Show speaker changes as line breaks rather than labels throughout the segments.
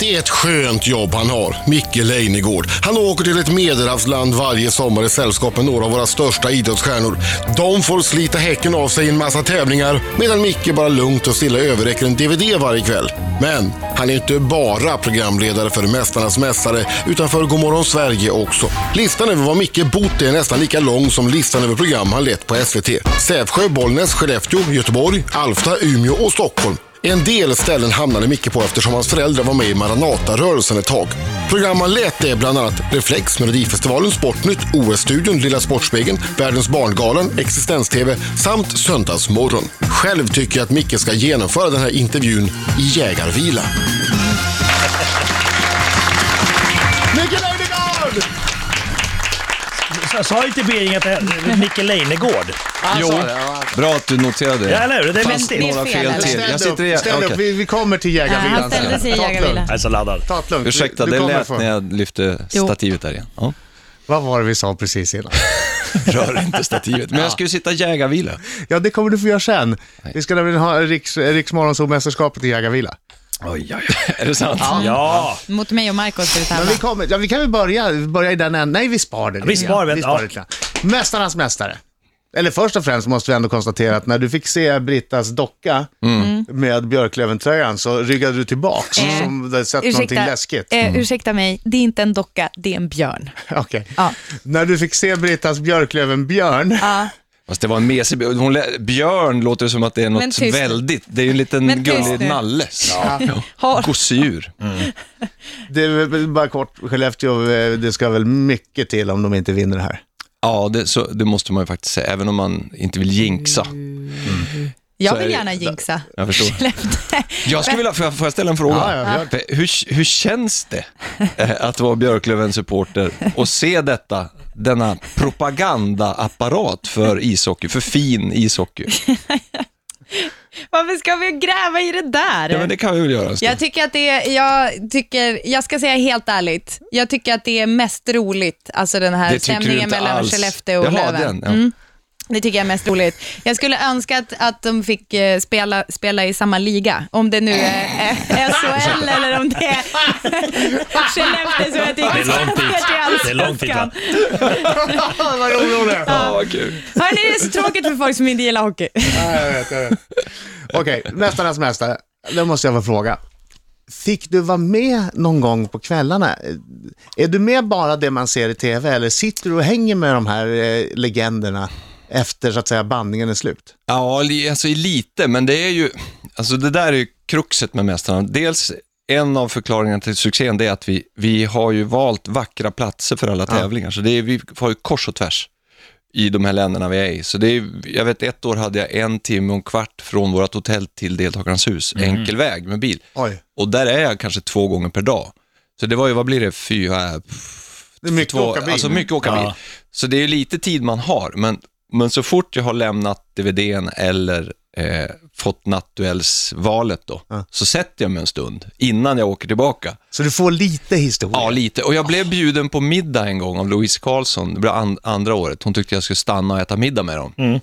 Det är ett skönt jobb han har, Micke Leijnegård. Han åker till ett medelhavsland varje sommar i sällskap med några av våra största idrottsstjärnor. De får slita häcken av sig i en massa tävlingar medan Micke bara lugnt och stilla överräcker en DVD varje kväll. Men han är inte bara programledare för Mästarnas Mästare utan för Godmorgon Sverige också. Listan över vad Micke bott är nästan lika lång som listan över program han lett på SVT. Sävsjö, Bollnäs, Skellefteå, Göteborg, Alfta, Umeå och Stockholm. En del ställen hamnade Micke på eftersom hans föräldrar var med i Maranata-rörelsen ett tag. Program han lät är bland annat Reflex, Melodifestivalen, Sportnytt, OS-studion, Lilla Sportspegeln, Världens Barngalan, Existens-TV samt Söndagsmorgon. Själv tycker jag att Micke ska genomföra den här intervjun i jägarvila. Micke Leijnegard!
Jag sa inte Bering att det är Micke Leijnegård?
Jo, bra att du noterade det.
Ja, eller hur? Det är
Fanns
mäktigt.
några
Det är
fel
fel, eller?
till.
Ställ
Jag
Ställ
sitter
dig
i...
upp, ställ dig
okej.
upp. Vi, vi kommer till
Ja,
jägarvilan
han ställde sig i
Ta det lugnt,
jägarvilan.
Jag är så laddad.
Ta det lugnt.
Ursäkta,
Du- du
det
kommer
lät
först.
när jag lyfte
Jo.
stativet där igen. Ja.
Vad var det vi sa precis innan?
Rör inte stativet. Men jag ska ju sitta i jägarvila.
Ja, det kommer du få göra sen. Vi ska nämligen ha Riks, Riksmorgonsolmästerskapet i jägarvila.
Oj, oj, oj. Är det sant?
Ja,
Mot mig och Marco ska vi
Men vi,
tävla.
kommer, ja, vi kan väl börja, vi börjar i den änden. Nej, vi spar det.
Vi spar det,
vi spar
ja.
det. Ja. Mästarnas mästare. Eller först och främst måste vi ändå konstatera att när du fick se Brittas docka
Mm.
Mm. med Björklöven-tröjan så ryggade du tillbaks
Eh,
som du hade sett någonting läskigt.
eh,
Mm.
ursäkta mig, det är inte en docka, det är en björn.
Okej.
Ja.
När du fick se Brittas Björklöven-björn,
Fast det var en mesig... Hon lä... Björn låter som att det är något
tyst.
väldigt... Det är ju en liten
Men tyst
gullig
nu.
nalle.
Har-
Gosedjur.
det är väl bara kort, Skellefteå, eh, det ska väl mycket till om de inte vinner det här.
Ja, det, så, det måste man ju faktiskt säga, även om man inte vill jinxa.
Jag
Så är
vill
det-
gärna jinxa.
Jag förstår.
Skellefteå.
Jag skulle vilja, får jag, får jag ställa en fråga?
Ja, ja, gör
hur, hur känns det eh, att vara Björklöven-supporter och se detta, denna propagandaapparat för ishockey, för fin ishockey?
Varför ska vi gräva i det där?
Ja, men det kan vi väl göra. en stund.
Jag tycker att det är, jag tycker, jag ska säga helt ärligt, jag tycker att det är mest roligt, alltså den här
Det tycker du
stämningen
inte
mellan
alls.
Skellefteå och
Jaha, den,
Löven.
ja.
Mm, det tycker jag är mest roligt. Jag skulle önska att, att de fick eh, spela, spela i samma liga, om det nu är eh, SHL eller om det är Skellefteå som jag tycker
Det är långt dit.
ner till
Det är långt dit, va?
Allsvenskan.
Vad rolig hon är.
Ja, vad kul.
Hörni, det är så tråkigt för folk som inte gillar hockey.
Ja, jag vet, jag vet. Okej, Mästarnas mästare. Då måste jag få fråga. Fick du vara med någon gång på kvällarna? Är du med bara det man ser i tv eller sitter du och hänger med de här eh, legenderna efter så att säga bandningen är slut?
Ja, li- alltså i lite, men det är ju, alltså det där är ju kruxet med Mästarna. Dels en av förklaringarna till succén, det är att vi, vi har ju valt vackra platser för alla tävlingar, så det är, vi har ju kors och tvärs i de här länderna vi är i. Så det är, jag vet ett år hade jag en timme och en kvart från vårt hotell till deltagarnas hus, enkel väg med bil.
Oj.
Och där är jag kanske två gånger per dag. Så det var ju, vad blir det, fyra,
Det är mycket
två,
åka bil.
Alltså mycket åka bil.
Ja.
Så det är ju lite tid man har, men, men så fort jag har lämnat DVDn eller eh, fått nattduellsvalet då, så sätter jag mig en stund innan jag åker tillbaka.
Så du får lite historia.
Ja, lite. Och jag blev bjuden på middag en gång av Louise Karlsson, det blev an- andra året. Hon tyckte jag skulle stanna och äta middag med dem.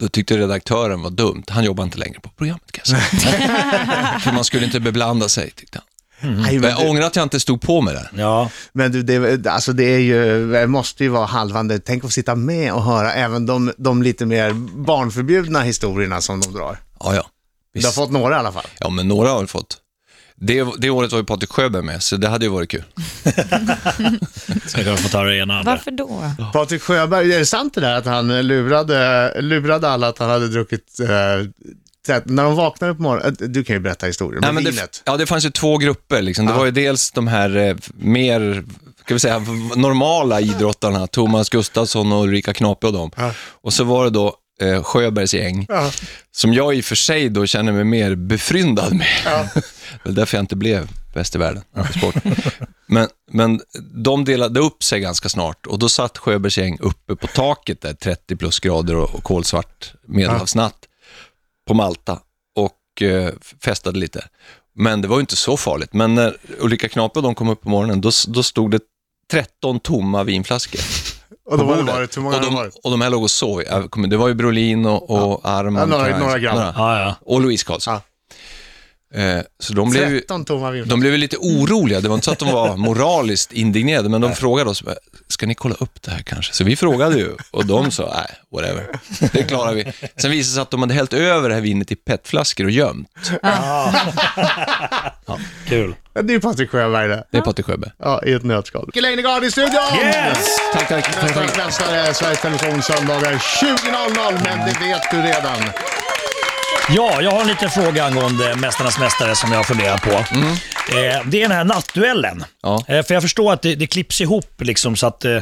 Då tyckte redaktören var dumt. Han jobbar inte längre på programmet kan jag säga. För man skulle inte beblanda sig, tyckte han.
Nej,
Men
men,
jag
du,
ångrar att jag inte stod på med det.
ja.
men du, det, alltså det är ju, det måste ju vara halvande. Tänk att sitta med och höra även de, de lite mer barnförbjudna historierna som de drar.
Ja, ja.
Du har fått några i alla fall.
Ja, men några har vi fått. Det, det året var ju Patrik Sjöberg med, så det hade ju varit kul.
Ska jag få ta det ena andra.
Varför då?
Patrik Sjöberg, är det sant det där att han lurade, lurade alla att han hade druckit... Eh, te- när de vaknade på morgonen, eh, du kan ju berätta historien, men,
men det,
vinet.
ja, det fanns ju två grupper. Liksom. Det var ju dels de här eh, mer ska vi säga, v- normala idrottarna, Thomas Gustafsson och Ulrika Knape och dem. Och så var det då eh, Sjöbergs gäng, som jag i och för sig då känner mig mer befryndad med. Det är därför jag inte blev bäst i världen på sport. Men, men de delade upp sig ganska snart och då satt Sjöbergs gäng uppe på taket där, 30 plus grader och, och kolsvart medelhavsnatt på Malta och eh, festade lite. Men det var ju inte så farligt. Men när Ulrika Knape och de kom upp på morgonen, då, då stod det 13 tomma vinflaskor.
Och då
på
var det
bordet.
varit, hur många
och,
har det
de,
varit?
och de här låg och sov. Jag kommer- Det var ju Brolin och, och Arman.
Ja, några-
Kreis,
några grabbar.
Ja, ja.
Och Louise Karlsson. Eh, Så de blev, ju-
13 tomma vimlar.
de blev ju lite oroliga. Det var inte så att de var moraliskt indignerade, men de frågade oss, ska ni kolla upp det här kanske? Så vi frågade ju och de sa, nej, whatever, det klarar vi. Sen visade det sig att de hade hällt över det här vinet i petflaskor och gömt.
Kul.
Ja, Det är Patrik Sjöberg det.
Det är Patrik Sjöberg.
Ja, i ett nötskal. Micke Leijnegard i studion!
Yes!
Tack, tack. tack,
Nästa
tack.
mästare, Sveriges Television söndagar 20.00, men det vet du redan.
Ja, jag har en liten fråga angående Mästarnas Mästare som jag funderar på. Eh, det är den här nattduellen.
Ja.
Eh, för jag förstår att det, det klipps ihop liksom så att eh,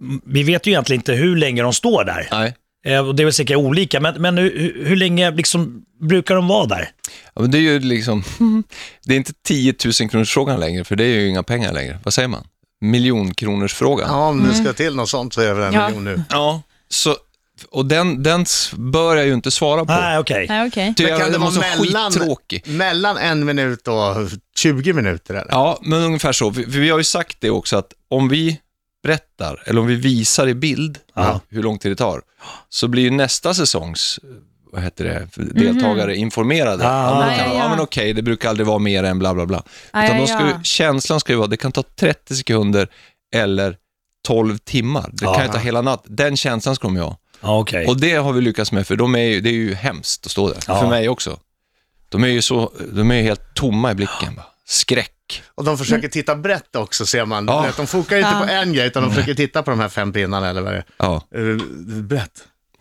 m- vi vet ju egentligen inte hur länge de står där.
Nej.
Eh, och det är väl säkert olika, men, men hur, hur- hur länge liksom brukar de vara där?
Ja, men det är ju liksom,
Mm.
det är inte 10 000 kronors frågan längre, för det är ju inga pengar längre. Vad säger man? Miljonkronorsfrågan.
Ja, om det ska till något sånt så är det över en
Ja.
miljon nu.
Ja, så, och den, den s- bör jag ju inte svara på.
Nej, okej.
Nej, okej.
Ty
Men
jag-
kan det
den var
vara
så
mellan,
skittråkig.
mellan en minut och 20 minuter eller?
Ja, men ungefär så. Vi, vi har ju sagt det också att om vi berättar, eller om vi visar i bild
Ja.
hur lång tid det tar, så blir ju nästa säsongs vad heter det, deltagare informerade.
Ah.
Ja, men då kan
Mhm. Ja,
de,
ja,
ja,
ja.
men okej, det brukar aldrig vara mer än bla bla bla.
Ja,
Utan
ja,
de ska, ju-
ja.
känslan ska ju vara, det kan ta 30 sekunder eller 12 timmar. Det kan ju ta hela natt. Den känslan ska de ju ha.
Ja, okej.
Och det har vi lyckats med, för de är ju, det är ju hemskt att stå där.
Ja.
För mig också. De är ju så, de är ju helt tomma i blicken. bara. Skräck.
Och de försöker titta brett också ser man.
Ja.
Du vet, De fokar inte
Ja.
på en grej utan de försöker titta på de här fem pinnarna eller vad det
Ja.
är. Eh, Brett.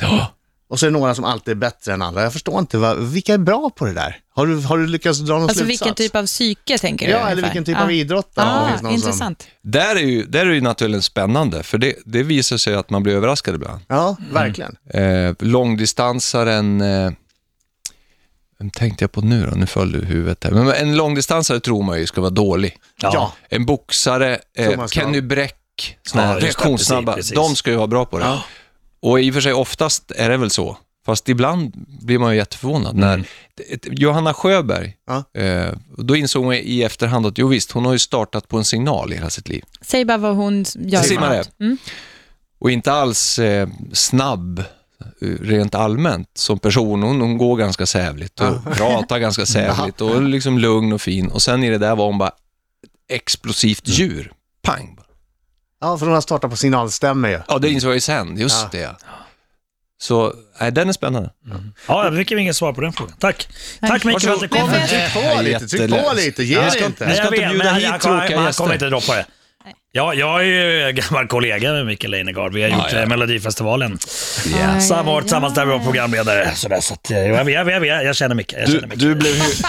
Ja.
Och så är det några som alltid är bättre än andra. Jag förstår inte, vad, vilka är bra på det där? Har du, har du lyckats dra någon
Alltså
slutsats?
vilken typ av psyke tänker du?
Ja, eller
ungefär?
vilken typ
Ja.
av idrott? då? Om det
Ah,
finns någon som-
intressant.
Där är ju, där är ju naturligen spännande, för det, det visar sig att man blir överraskad ibland.
Ja, verkligen.
Eh, långdistansaren, eh, vem tänkte jag på nu då? Nu föll du huvudet här. Men en långdistansare tror man ju ska vara dålig.
Ja.
En boxare,
Tror
eh,
man ska
Kenny
vara-
Bräck, sådana
Ja, just
här
det,
reaktionssnabba,
precis, precis.
de ska ju vara bra på det. Och i och för sig oftast är det väl så, fast ibland blir man ju jätteförvånad.
Mm.
När, ett- Johanna Sjöberg,
Ja.
eh, då insåg man i efterhand att jo visst, hon har ju startat på en signal i hela sitt liv.
Säg bara vad hon gör.
Simmare.
Mm.
och inte alls eh, snabb eh, rent allmänt som person. Hon, hon går ganska sävligt och pratar ganska sävligt och är liksom lugn och fin. Och sen i det där var hon bara ett explosivt djur. Pang!
Ja, för de har startat på signalstämmer ju.
Ja, det insåg jag ju sen. Just
Ja.
det. ja. Så, nej, den är spännande.
Ja, jag fick inget svar på den frågan. Tack. Tack, Micke för att du kom.
Varsågod.
Nej,
Tryck på
är
lite, tryck på
jättelätt.
lite, ge
Ja.
dig inte.
Nej.
jag
ska inte
vet,
bjuda
men
hit
han-
tråkiga
Han
gäster.
kommer inte droppa det. Ja, jag är ju gammal kollega med Micke Leijnegard. Vi har gjort
ja.
eh, Melodifestivalen.
Ja.
Så han har varit tillsammans där vi var programledare. Så där, så att, eh, jag, jag, jag, jag, jag känner Micke. Jag
Du,
känner Micke.
du blev hu-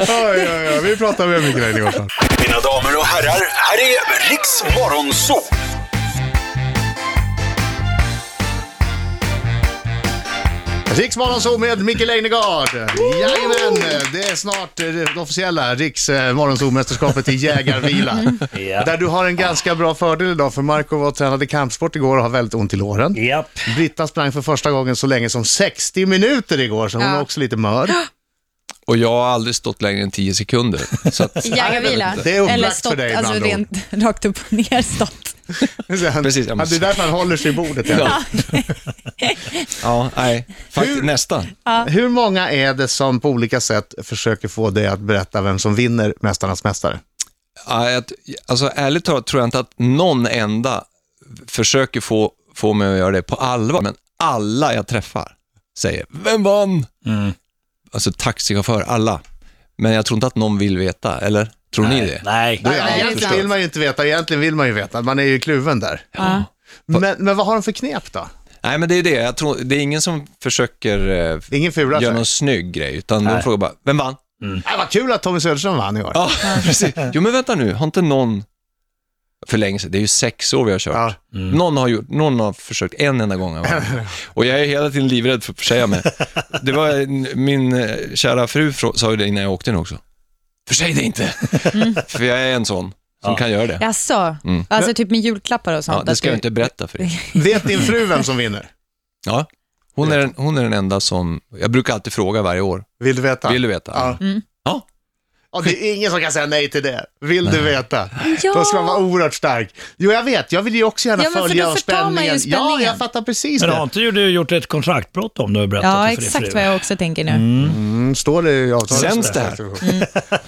Oj, oj, oj, vi pratar med Mikael Leijnegard.
Mina damer och herrar, här är Riks Morgonzoo!
Riksmorgonzoo med Micke Leijnegard. Jajamän, det är snart eh, det officiella Riks eh, Morgonzoo-mästerskapet i jägarvila.
Ja.
Där du har en ganska bra fördel idag, för Marco var och tränade kampsport igår och har väldigt ont i låren.
Japp.
Britta sprang för första gången så länge som 60 minuter igår, så hon
Ja.
är också lite mör.
och jag har aldrig stått längre än 10 sekunder. Så att,
Jägarvila.
Det är upplagt
Eller
för
stått,
dig med
alltså
andra ord.
rent rakt upp och ner stått.
Så han-
Precis, jag
han, det
måste-
är därför han håller sig i bordet. Ja.
ja, nej,
Hur-
faktiskt, nästan.
Hur många är det som på olika sätt försöker få dig att berätta vem som vinner Mästarnas Mästare?
Ja, jag, alltså, ärligt talat tror jag inte att någon enda försöker få, få mig att göra det på allvar, men alla jag träffar säger ”Vem vann?” Alltså taxichaufför, alla. Men jag tror inte att någon vill veta, eller? Tror ni det?
Nej.
Nej,
det är
egentligen
sant.
vill man ju inte veta, egentligen vill man ju veta. Man är ju kluven där.
Ja.
Men, men vad har de för knep då?
Nej, men det är det. Jag tror, det är ingen som försöker eh,
Ingen fula
göra
sig.
någon snygg grej, utan de frågar bara ”Vem vann?”
Ah, vad kul att Tommy Söderström vann i år.
Ja, precis. Jo, men vänta nu, har inte någon för länge sedan, det är ju sex år vi har kört.
Ja.
Någon, har gjort, någon har försökt en enda gång. va? Och jag är hela tiden livrädd för att försäga mig. Det var en, min eh, kära fru frå- sa ju det innan jag åkte nu också. Försäg dig inte! För jag är en sån som kan göra det.
Jaså? Alltså typ med julklappar och sånt?
Mm. Ja, det
att
ska jag
du-
inte berätta för dig.
Vet din fru vem som vinner?
Ja. Hon, är den, hon är den enda som, jag brukar alltid fråga varje år,
Vill du veta?
vill du veta?
Ja.
Ja.
Och det är ingen som kan säga nej till det. Vill du veta?
Ja.
Då ska man vara oerhört stark. Jo, jag vet. Jag vill ju också gärna
Ja, men för
följa
då
och
förtar man ju
spänningen. Ja,
spänningen.
jag fattar precis
Men har
det.
inte du gjort ett kontraktbrott om du har berättat
Ja,
det för din
exakt
fru?
vad jag också tänker nu.
Mm, står det i avtalet?
Sänds det här?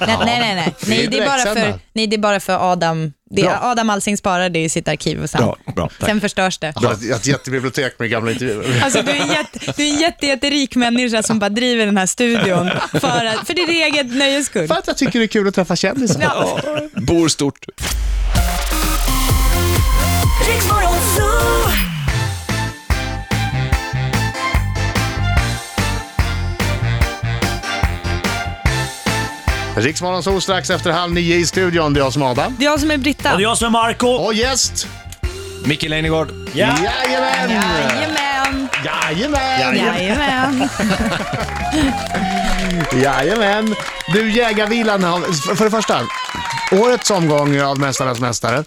Nej, nej, nej. nej.
Det är
Nej, det är bara för,
direktsända.
nej, det är bara för Adam. Det
Bra.
är, Adam Alsing sparar det i sitt arkiv och sen,
Bra, bra. Tack.
sen förstörs det.
Jag har ett jättebibliotek med gamla intervjuer.
Alltså, du är en, jätte, du är en jätte, jätterik människa som bara driver den här studion för, att, för ditt eget nöjes skull.
För att jag tycker det är kul att träffa kändisar.
Ja.
Bor stort.
Riksmorgon Zoo.
Riksmorgon så strax efter halv nio i studion. Det är jag som är Adam.
Det är jag som är
Och
Britta.
det är jag som är Marco.
Och gäst!
Micke Leijnegard.
Ja.
Jajamän!
Jajamän,
Jajamän!
jajamän.
Jajamän! Du, jägarvilan. har- f- För det första, årets omgång av Mästarnas Mästare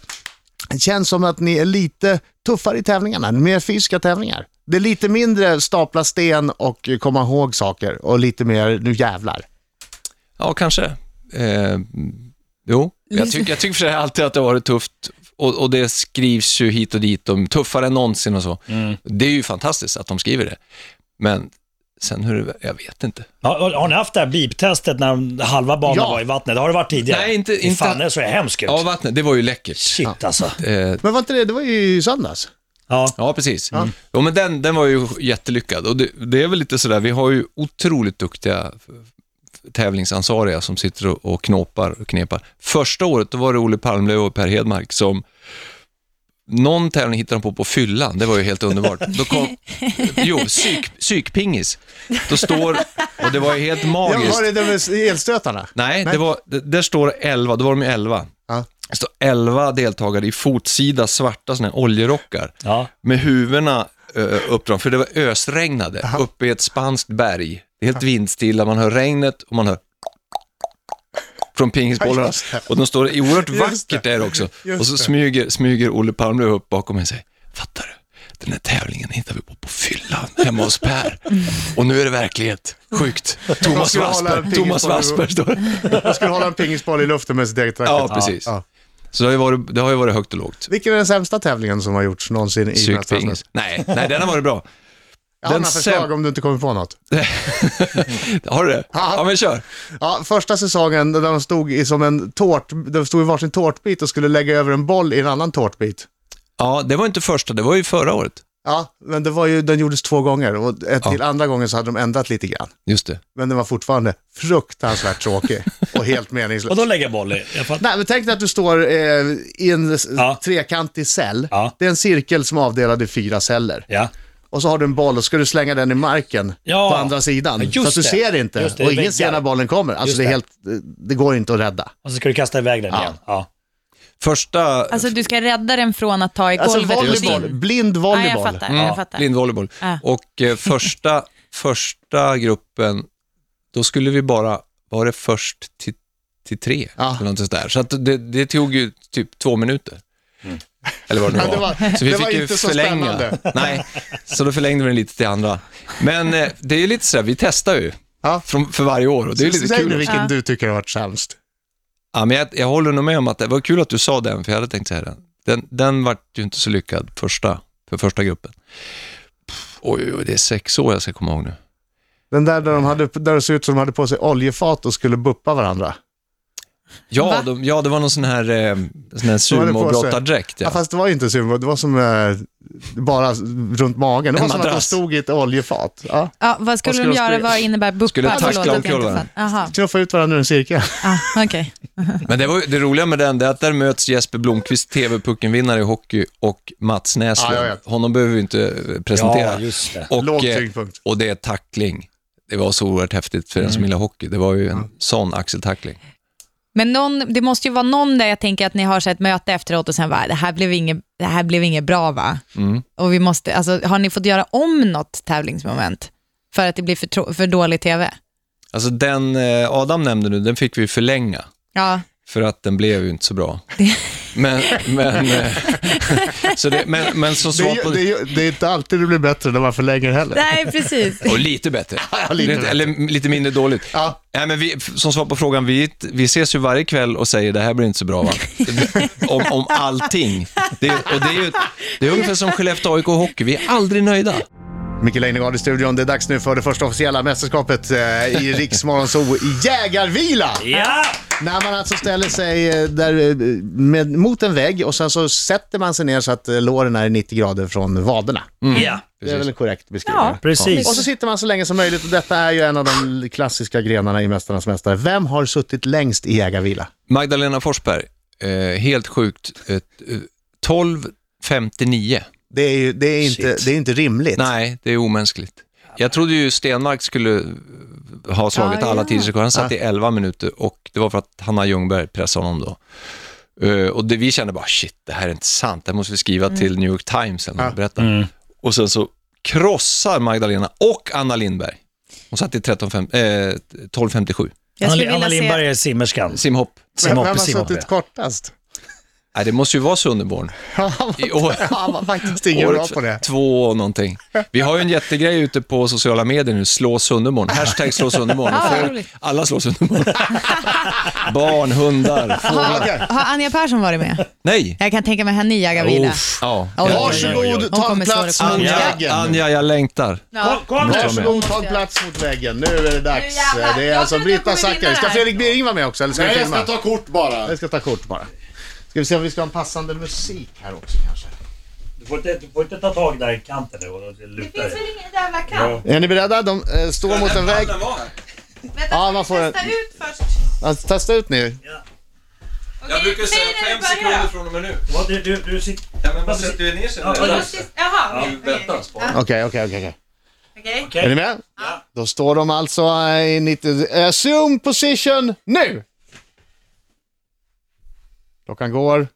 känns som att ni är lite tuffare i tävlingarna, mer fysiska tävlingar. Det är lite mindre stapla sten och komma ihåg saker och lite mer nu jävlar.
Ja, kanske. Eh, jo, jag tycker, jag tycker för sig alltid att det har varit tufft. Och, och det skrivs ju hit och dit om tuffare än någonsin och så. Det är ju fantastiskt att de skriver det. Men sen hur det, jag vet inte.
Har, har ni haft det här beep-testet när halva banan
Ja.
var i vattnet? Har det varit tidigare?
Nej, inte-
Fy
inte-
Fan, det såg hemskt ut.
Ja, vattnet, det var ju läckert.
Shit alltså.
Eh,
Men var inte det, det var ju i söndags.
Ja.
Ja, precis. Jo, men den, den var ju jättelyckad. Och det, det är väl lite sådär, vi har ju otroligt duktiga f- f- tävlingsansvariga som sitter och, och knåpar och knepar. Första året, då var det Olle Palmlöv och Per Hedmark som någon tävling hittade de på på fyllan, det var ju helt underbart. Då kom, jo, psyk, psykpingis. Då står, och det var ju helt
Jag
magiskt.
var det där med elstötarna.
Nej,
Nej.
Det var, d- där står det 11, då var de ju 11.
Ja.
Det står 11 deltagare i fotsida svarta såna här oljerockar
Ja.
med huvudena uh, uppdragna, för det var ösregnade uppe i ett spanskt berg. Det är helt vindstilla, man hör regnet och man hör från
Ja,
pingisbollarna.
just det.
Och de står det är oerhört
Just
vackert
det.
där också.
Just
Och så
det.
smyger, smyger Olle Palmlöv upp bakom mig och säger, fattar du? Den här tävlingen hittar vi på på fyllan hemma hos Per. Och nu är det verklighet. Sjukt. Thomas
Mm. skulle hålla en
Wassberg, Thomas
pingisboll.
Wassberg står det.
Jag skulle hålla en pingisboll i luften med sitt eget racket.
Ja, precis.
Ja.
Så det har, ju varit, det har ju varit högt och lågt.
Vilken är den sämsta tävlingen som har gjorts någonsin i Mästarnas
Psykping.
Mästare?
Nej, nej, den har varit bra.
Jag har
Den
några förslag
säm-
om du inte kommer på något.
Har du det?
Ja.
Ja, men kör.
Ja, första säsongen där de stod i som en tårt, de stod i varsin tårtbit och skulle lägga över en boll i en annan tårtbit.
Ja, det var inte första, det var ju förra året.
Ja, men det var ju, den gjordes två gånger och ett till andra gången så hade de ändrat lite grann.
Just det.
Men den var fortfarande fruktansvärt tråkig och helt
Och
meningslös.
då lägger jag boll i. Jag fattar.
Nej, men tänk dig att du står eh, i en s-
Ja.
trekantig cell.
Ja.
Det är en cirkel som är avdelad i fyra celler.
Ja.
Och så har du en boll och ska du slänga den i marken
Ja.
på andra sidan.
Ja,
så
just
att du
det.
ser inte
Just det,
och
det är
ingen ser
väggar.
när bollen kommer. Alltså
Just
det, är
det.
helt, det går inte att rädda.
Och så ska du kasta iväg den igen. Ja.
Första
Alltså du ska rädda den från att ta i
Alltså
golvet.
volleyboll,
in.
blind
Ja, jag
volleyboll.
fattar.
mm,
Jag fattar.
blindvolleyboll.
Ja.
Och eh, första, första gruppen, då skulle vi bara, var det först till, till tre?
Ja.
Eller något sånt där. Så att det, det tog ju typ två minuter. Mm. Eller vad det nu
Ja,
var.
det var-
så vi
det
fick
var
ju
inte så
förlänga.
spännande.
Nej, så då förlängde vi den lite till andra. Men eh, det är ju lite sådär, vi testar ju.
Ja.
Från, för varje år och det är lite
Säg nu
kul. också.
vilken du tycker har varit sämst.
Ja, men jag, jag håller nog med om att det var kul att du sa den, för jag hade tänkt säga den. Den, den var ju inte så lyckad första, för första gruppen. Pff, Oj, oj, oj, det är sex år jag ska komma ihåg nu.
Den där där, de hade, där det såg ut som de hade på sig oljefat och skulle buppa varandra.
Ja, de, ja det var någon sån här, eh,
Vad
sån här
hade på sig?
sumobrotardräkt.
Ja.
Ja.
fast det var ju inte sumo, det var som eh, bara runt magen. Det
En
var som att de
madrass.
stod i ett oljefat. Ja.
Ja, vad skulle,
skulle
de
de
göra?
springa?
Vad innebär buppa?
Skulle tackla
Förlåt att jag
omkull
inte
varandra.
fatt- Jaha,
Knuffa ut varandra ur en cirkel.
ah, okej.
Men det, var, ju- det roliga med den det är att där möts Jesper Blomqvist, TV-puckenvinnare i hockey, och Mats Näslund.
Ja, jag vet.
Honom behöver vi inte eh, presentera.
Ja, just det.
Och,
Låg
eh,
tyngdpunkt. Mm.
och det är tackling. Det var så oerhört häftigt för den som gillar hockey. Det var ju en sån axeltackling.
Men någon, det måste ju vara någon där jag tänker att ni har så här ett möte efteråt och sen bara, det här blev inget, det här blev inget bra va? Och vi måste, alltså, har ni fått göra om något tävlingsmoment för att det blir för, tro- för dålig tv?
Alltså den eh, Adam nämnde nu, den fick vi förlänga.
Ja,
För att den blev ju inte så bra. Men, men, eh, så det, men, men som
Det
svar
är,
på...
ju- det, är, ju- det är inte alltid det blir bättre när man förlänger heller.
Nej, precis.
Och lite bättre.
Ja, lite bättre.
Eller lite mindre dåligt.
Ja.
Nej, men vi, som svar på frågan, vi, vi ses ju varje kväll och säger det här blir inte så bra va? om, om allting. Det, är- och det, är ju, det är ungefär som Skellefteå AIK Hockey, vi är aldrig nöjda.
Micke Leijnegard i studion. Det är dags nu för det första officiella mästerskapet eh, i Riksmorgonzoo i jägarvila.
Ja!
När man alltså ställer sig eh, där, eh, med, mot en vägg och sen så sätter man sig ner så att eh, låren är 90 grader från vaderna.
ja.
Det är väl en korrekt beskrivning?
Ja.
Precis.
Och så sitter man så länge som möjligt och detta är ju en av de klassiska grenarna i Mästarnas Mästare. Vem har suttit längst i jägarvila?
Magdalena Forsberg, eh, helt sjukt, eh, 12.59.
Det är ju det är inte,
Shit.
det är inte rimligt.
Nej, det är omänskligt. Jag trodde ju Stenmark skulle ha slagit
Ja,
alla
ja.
tidsrekord. Han satt i 11 minuter och det var för att Hanna Ljungberg pressade honom då. Eh, och det, vi kände bara, shit, det här är inte sant. Det här måste vi skriva
Mm.
till New York Times eller något, berätta. Och sen så krossar Magdalena och Anna Lindberg. Hon satt i 13, fem, eh, 12.57.
Jag skulle
Anna- Anna
vilja
Lindberg
se...
är simmerskan.
Simhopp.
Vem, vem
Simhopp,
har
simhopp.
suttit kortast?
Nej, det måste ju vara Sunderborn. I år.
Han var faktiskt ingen bra på det.
två och någonting. Vi har ju en jättegrej ute på sociala medier nu, slå Sundermorgon. Hashtag slå Sundermorgon.
Ja, vad
Folk-
roligt.
Alla slår Sundermorgon. Barn, hundar, fåglar.
Okej.
Har Anja Persson varit med?
Nej.
Jag kan tänka mig henne i jägarvila.
Uff, ja.
Oj, oj, oj.
Varsågod,
Hon
ta
kommer
plats
svara på
mot
det.
Anja,
väggen.
Anja, jag längtar.
Kom, kom nu!
Varsågod, ta plats mot väggen. Nu är det dags.
jävlar.
Det är
Jag
alltså
trodde jag
Britta
kommer vinna
Zackari. Ska
här.
Fredrik Bering vara med också, eller ska
Nej,
vi
jag
filma?
ska ta kort bara.
Jag ska ta kort bara. Ska vi se om vi ska ha en passande musik här också kanske.
Du får, inte, du får inte ta tag där i kanten nu och luta dig.
ingen jävla kamp?
Är ni beredda? De eh, står mot en vägg. Ja, man får en- testa
ut först.
Alltså, testa ut nu.
Jag brukar säga fem sekunder från och med nu.
Vad, Du, du, du sitter...
Ja, men man sätter ju ner sig när det är dags.
Jaha,
Det är ju vettans barn.
Okej, okej, okej. okej.
okej.
Är ni med? Ja. Då står de alltså eh, i 90... eh, Zoom position nu! Klockan går.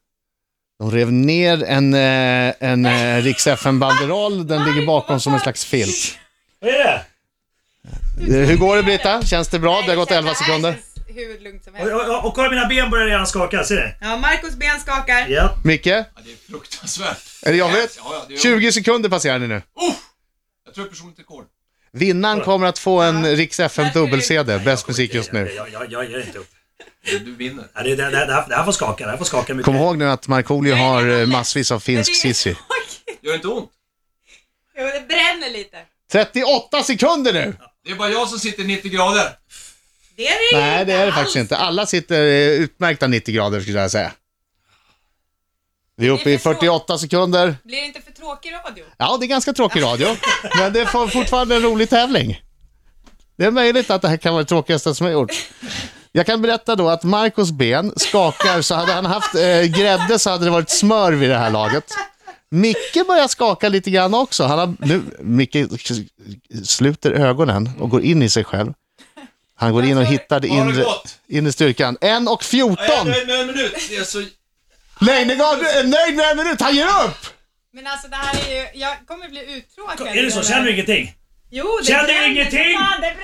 De rev ner en, eh, en eh, Rix FN-banderoll. Den ligger bakom som en slags filt.
Vad är det?
Eh, Hur går det Britta? Känns det bra? Det har gått 11 sekunder.
Hur lugnt som
Och, och, och kolla mina ben börjar redan skaka, ser ni?
Ja, Marcos ben skakar.
Ja.
Micke?
Det är fruktansvärt.
Är det jobbigt?
Ja, ja, det är jobbigt. Oh!
20 sekunder passerar ni nu.
Jag tror jag personligt rekord.
Vinnaren kommer att få en Rix FM dubbel-CD. Bäst musik just nu.
Jag, jag, jag ger inte upp.
Du vinner.
Ja, Det, det, det, här, det här får skaka, det här får skaka mycket.
Kom ihåg nu att Markoolio har eh, massvis av finsk sissi.
Gör inte ont.
Det bränner lite.
38 sekunder nu!
Det är bara jag som sitter 90 grader.
Det är det
Nej, det är det faktiskt inte. Alla sitter eh, utmärkta 90 grader skulle jag säga. Vi är uppe i 48 sekunder.
Blir det inte för tråkig radio?
Ja, det är ganska tråkig radio, men det är for- fortfarande en rolig tävling. Det är möjligt att det här kan vara det tråkigaste som jag gjort. Jag kan berätta då att Marcos ben skakar, så hade han haft eh, grädde så hade det varit smör vid det här laget. Micke börjar skaka lite grann också. Han har, nu, Micke sluter ögonen och går in i sig själv. Han går in och hittar det inre, inre styrkan. 1 och 14!
med en minut. Det är så...
Leijnegard är nöjd med en minut, han ger upp!
Men alltså det här är ju, jag kommer bli uttråkad.
Är det så? Känner du ingenting?
Jo, det
Känner du
bränner,
ingenting?
Fan, det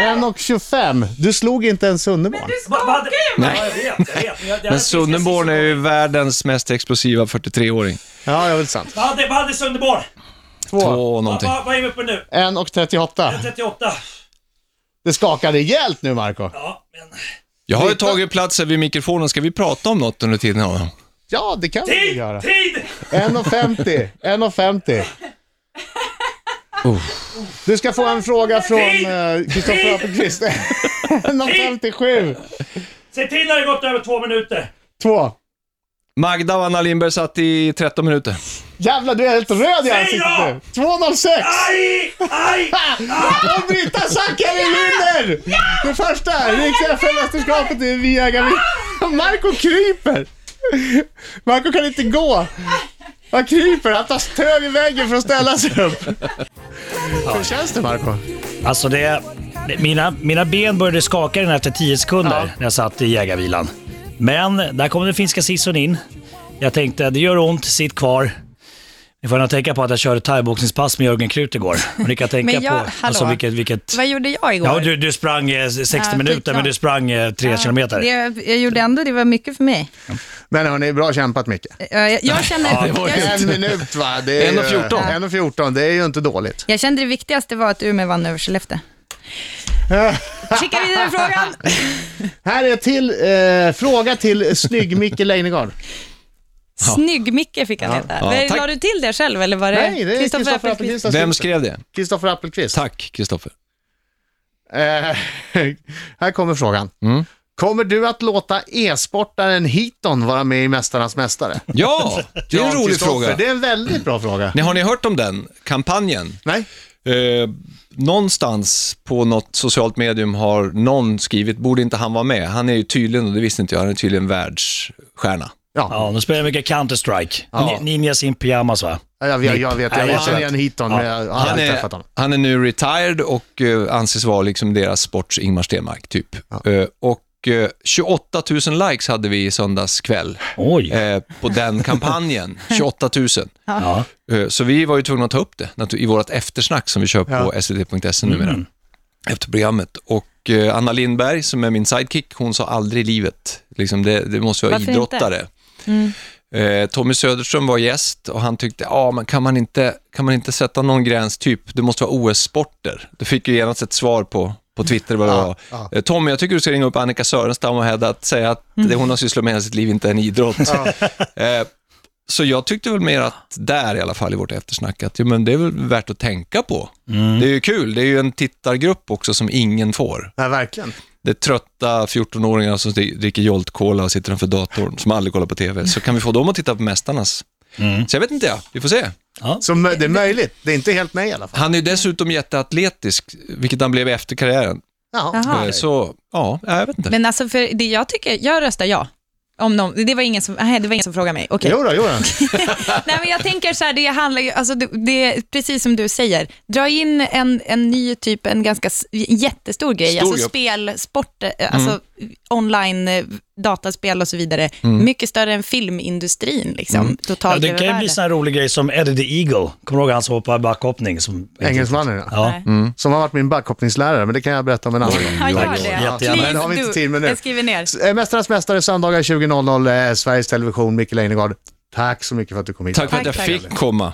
bränner!
1 och 25. Du slog inte ens Sunderborn.
Va- va-
Skakar ju!
Ja, jag vet, jag vet. Jag- det här
Men
finns-
Sunderborn är ju världens mest explosiva 43-åring.
Ja, det är väl sant.
Vad hade, vad hade Sunderborg?
Två.
Två någonting.
Vad, vad är vi på nu?
1 och 38.
38?
Det skakar rejält nu, Marco.
Ja, men...
Jag har ju tagit plats här vid mikrofonen. Ska vi prata om något under tiden? Adam?
Ja, det kan vi
Tid!
göra.
Tid!
1,50. 1,50. Du ska få en fråga från eh, Kristoffer Appelqvist. 1,57.
Se till när det gått över två minuter.
2.
Magda och Anna Lindberg satt i 13 minuter.
Jävlar, du är helt röd i ansiktet
då!
nu. 2,06.
Aj! Aj!
Och Britta Zackari vinner! Det första Riks FN-mästerskapet i Viagra. Marco kryper! Marco kan inte gå. Han kryper, han tar stöd i väggen för att ställa sig upp. Hur känns det Marco?
Alltså det... Mina, mina ben började skaka redan efter 10 sekunder när jag satt i jägarvilan. Men där kom den finska sisson in. Jag tänkte, det gör ont, sitt kvar. Ni får gärna tänka på att jag körde thaiboxningspass med Jörgen Krut igår. Och ni kan tänka
Men jag-
på
hallå.
alltså, vilket... vilket
Vad gjorde jag igår?
ja, du, du sprang eh, 60
Ja,
minuter, men
skitbra.
du sprang 3 kilometer.
Det, jag gjorde ändå, det var mycket för mig.
Men hörni, bra kämpat Micke.
Jag, jag, kände, jag,
En minut va? Det är ju-
1.14.
en och 14, det är ju inte dåligt.
jag kände det viktigaste var att Umeå vann över Skellefteå. Skicka vidare frågan.
Här är till eh, fråga till snygg Micke Leijnegard.
Snygg-Micke fick han heta.
Ja,
Men
tack.
la du till det själv eller var det
Nej, det är Kristoffer Appelqvist.
Vem skrev det?
Kristoffer Appelqvist.
Tack, Kristoffer.
Eh, här kommer frågan.
Mm.
Kommer du att låta e-sportaren Hiton vara med i Mästarnas Mästare?
Ja, det är en
Jan
rolig
Kristoffer,
fråga.
Det är en väldigt bra fråga.
Ni- Har ni hört om den kampanjen?
Nej?
Eh, någonstans på något socialt medium har någon skrivit, borde inte han vara med? Han är ju tydligen, och det visste inte jag, han är tydligen världsstjärna.
Ja, de spelar mycket Counter-Strike. Ni- Ninjas in pyjamas va?
Jag, jag, jag vet, jag,
Nej,
jag känner
jag-
igen Hiton, men jag har
Han
aldrig
är,
träffat honom.
han är nu retired och eh, anses vara liksom deras sports Ingmar Stenmark, typ. Eh, och eh, 28 000 likes hade vi i söndags kväll
Oj.
eh, på den kampanjen. 28 000.
Ja.
Eh, Så vi var ju tvungna att ta upp det natur- i vårt eftersnack som vi kör på svt.se E numera.
Mm.
Efter programmet. Och eh, Anna Lindberg, som är min sidekick, hon sa aldrig i livet. Liksom det, det måste vara
Varför
idrottare. Eh, Tommy Söderström var gäst och han tyckte, ja men kan man, inte, kan man inte sätta någon gräns, typ det måste vara OS-sporter. Du fick ju genast ett svar på, på Twitter vad det var. Eh, Tommy, jag tycker du ska ringa upp Annika Sörenstam och hävda att säga att det hon har sysslat med hela sitt liv inte är en idrott. Eh, så jag tyckte väl mer att, där i alla fall i vårt eftersnack, att ja, men det är väl värt att tänka på. Det är ju kul, det är ju en tittargrupp också som ingen får.
Nej, verkligen.
Det är trötta 14-åringar som dricker Jolt Cola och sitter framför datorn, som aldrig kollar på TV. Så kan vi få dem att titta på Mästarnas?
Mm.
Så jag vet inte, ja. vi får se.
Så mö- det är möjligt, det är inte helt nej i alla fall.
Han är ju dessutom jätteatletisk, vilket han blev efter karriären.
Ja.
Jaha.
Eh, Så, ja, jag vet inte.
Men alltså, för det jag tycker, jag röstar ja. Om någon, det, var ingen som, nej, det var ingen som frågade mig. Okej.
Jo då, jo då.
Mm.
Nej, men jag tänker så här, det handlar ju, alltså det, det är precis som du säger, dra in en, en ny typ, en ganska s- jättestor grej,
Stor
alltså
grupp.
spel, sport, eh, alltså online, eh, dataspel och så vidare, mycket större än filmindustrin liksom,
Ja,
totalt
det
över
kan ju bli
världen.
sån här rolig grej som Eddie the Eagle. Kommer du ihåg han som hoppade backhoppning? Som...
Engelsmannen ja.
Ja.
Som har varit min backhoppningslärare, men det kan jag berätta om en annan gång.
Ja, gör det.
Jättegärna.
Please
Men det har vi inte
do.
tid med nu.
Jag skriver ner.
S- eh, Mästarnas Mästare, söndagar 20.00, eh, Sveriges Television, Micke Leijnegard. Tack så mycket för att du kom hit.
Tack för att jag
Tack,
fick komma.